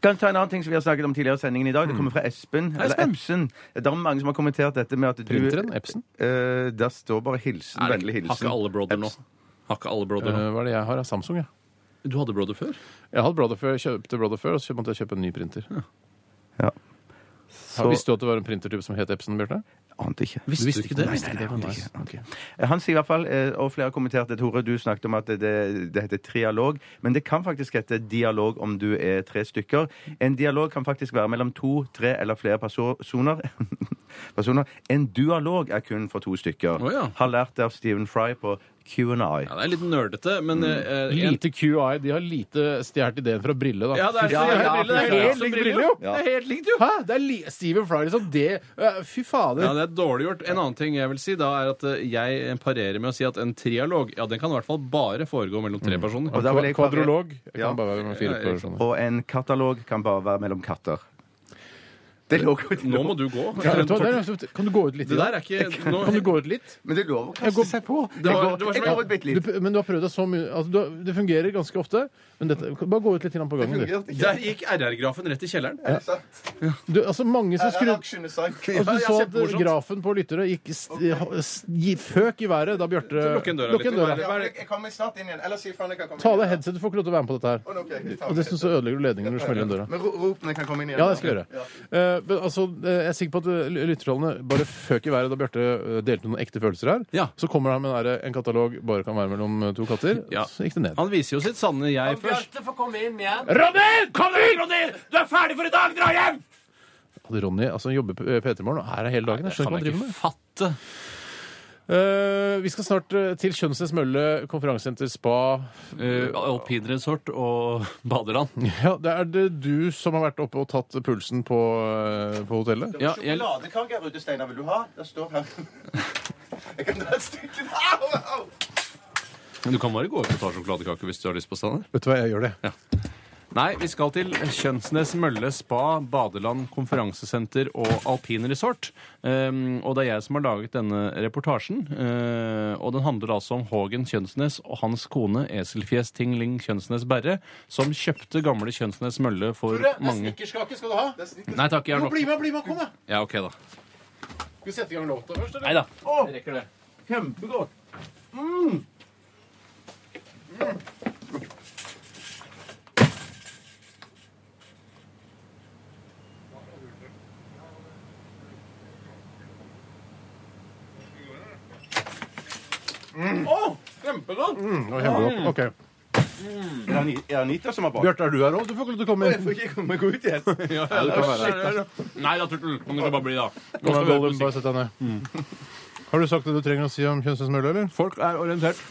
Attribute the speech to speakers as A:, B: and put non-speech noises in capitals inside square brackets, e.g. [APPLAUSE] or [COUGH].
A: Kan ta en annen ting som vi har snakket om tidligere i sendingen i dag. Det kommer fra Espen. Eller
B: Mm. Espen.
A: Epsen. Det er mange som har kommentert dette med at du
C: Printeren? Epson?
A: Eh, der står bare hilsen.
B: Er det-
A: Vennlig hilsen.
B: Har ikke alle Brother nå?
A: Epson.
B: Har ikke alle Brother nå?
C: Eh, hva er det jeg har? av Samsung, ja.
B: Du hadde Brother før?
C: Jeg hadde Brother før, jeg kjøpte Brother før, og så måtte jeg kjøpe en ny printer.
A: Ja.
C: Har- Visste du at det var en printertype som het Epson, Bjarte?
A: Ante ikke.
B: Visste du ikke det?
A: Nei,
B: Visste
A: nei,
B: ikke
A: nei,
B: det?
A: ante
B: Nei.
A: ikke. ante ikke. Eh, Han sier i hvert fall, eh, og flere har kommentert det, Tore, du snakket om at det, det heter trialog, men det kan faktisk hete dialog om du er tre stykker. En dialog kan faktisk være mellom to, tre eller flere perso- personer. [LAUGHS] personer. En dualog er kun for to stykker.
B: Å, ja.
A: Har lært det av Stephen Fry på Q&I.
B: Ja, det er litt nerdete, men
C: Mm.
B: eh, en-
C: Lite QI. De har lite stjålet ideen fra Brille, da.
B: Ja, det er så
A: Ja,
B: jævlig
A: ja,
B: brille. Det er
A: fy
B: helt
C: faen.
B: som
C: Lik
B: brille,
C: brille,
B: jo.
C: jo.
B: Det er helt likt, jo.
C: Hæ? Det er li Steven Fry, liksom. Det øh, Fy fader.
B: Ja, det er dårlig gjort. En annen ting jeg vil si, da, er at eh, jeg parerer med å si at en trialog, ja, den kan i hvert fall bare foregå mellom
C: Mm.
B: tre personer.
A: Og da vil jeg bare-
C: Kvadrolog. Jeg kan
A: Ja.
C: bare være med fire
B: Ja, ikke sant.
C: personer.
A: Og en katalog kan bare være mellom katter. Det er lov.
B: Nå må du gå.
C: Ja, vet du hva, det er- liksom- kan du gå ut litt? i
B: Det der er ikke nå,
C: Kan du gå ut litt?
A: Men det er lov å
C: Jeg
A: kaste
C: går-
A: seg på. Jeg
B: Det var-
A: går,
B: det var så
A: jeg går et bitte
C: Du,
A: litt.
C: pr- men du har prøvd det så mye altså, du har, Det fungerer ganske ofte. Men dette, bare gå ut litt grann på gangen, du.
A: Fungerte ikke.
B: Der gikk RR-grafen rett i kjelleren.
A: Er det sant?
C: du altså, mange som skrur
A: Aksjene sank.
C: Altså,
B: Ja,
C: du
B: ja,
C: så at
B: kjempemorsomt.
C: grafen på lyttere gikk st s- gi- føk i været da Bjarte
B: Lukk igjen døra
C: Lukk igjen
B: litt.
C: døra.
B: Bare-
A: Jeg kommer snart inn igjen. Ellers sier faen jeg kan komme
C: Ta
A: inn
C: av deg
A: igjen.
C: headsetet, du får ikke lov til å være med på dette her.
A: Å, ok, jeg tar
C: Og dessuten så ødelegger du ledningen når du smeller igjen døra.
A: Men ro- rop når jeg kan komme inn igjen.
C: Ja, det skal jeg gjøre. Eh, men altså, eh, jeg er sikker på at eh, ly- lyttertallene bare føk i været da Bjarte eh, delte noen ekte følelser her.
B: Ja.
C: Så kommer han med den der, eh, en katalog bare kan være mellom eh, to katter.
B: Ja.
C: Så gikk det ned.
B: Han viser jo sitt sanne jeg først.
C: Ronny! Kom inn, Ronny! Du er ferdig for i dag! Dra hjem! Hadde Ronny altså, han jobber på eh, P3 Morgen og er her hele dagen.
B: Det
C: Jeg skjønner
B: kan
C: ikke hva han
B: jeg
C: driver
B: ikke
C: med.
B: fatte.
C: Eh, vi skal snart eh, til Kjønnsnes Mølle konferansesenter spa.
B: Uh, Alpinresort og badeland.
C: [LAUGHS] Ja, Det er det du som har vært oppe og tatt pulsen på, eh, på hotellet?
B: Ja, jeg,
A: Sjokoladekake, Rudde Steinar, vil du ha? Det står her. [LAUGHS] Jeg kan ta et stykke Au, au!
B: du kan bare gå ut og ta sjokoladekake hvis du har lyst på Steinar.
C: Vet du hva, jeg gjør det.
B: Nei, vi skal til Kjønnsnes Mølle spa, badeland, konferansesenter og alpinresort. Um, og det er jeg som har laget denne reportasjen. eh, og den handler altså om Hågen Kjønnsnes og hans kone Eselfjes Tingling Kjønnsnes Berre, som kjøpte gamle Kjønnsnes Mølle for mange
C: Snickerskake skal du ha.
A: Det er snitt.
B: Nei takk, jeg har nok.
C: med, bli med, kom, da!
B: Ja, OK, da.
C: Skal vi sette i gang låta først,
B: Nei da.
A: Å,
B: Rekker det.
A: kjempegodt.
B: Kjempegodt.
C: Mm. Ok.
A: Er det Ani- er det Anita som har bakt?
C: Bjarte, er du her òg? Du får ikke lov til å komme
A: Jeg
C: inn.
A: får ikke komme meg ut igjen.
B: Ja, ja, Nei da, Turtle. Kan du ikke bare bli, da? Nå
C: Kom
B: skal
C: her,
B: vi høre
C: Gollum,
B: musikk.
C: bare sett deg ned. Har du sagt det du trenger å si om Kjønnsnes Mølle, eller?
B: Folk er orientert.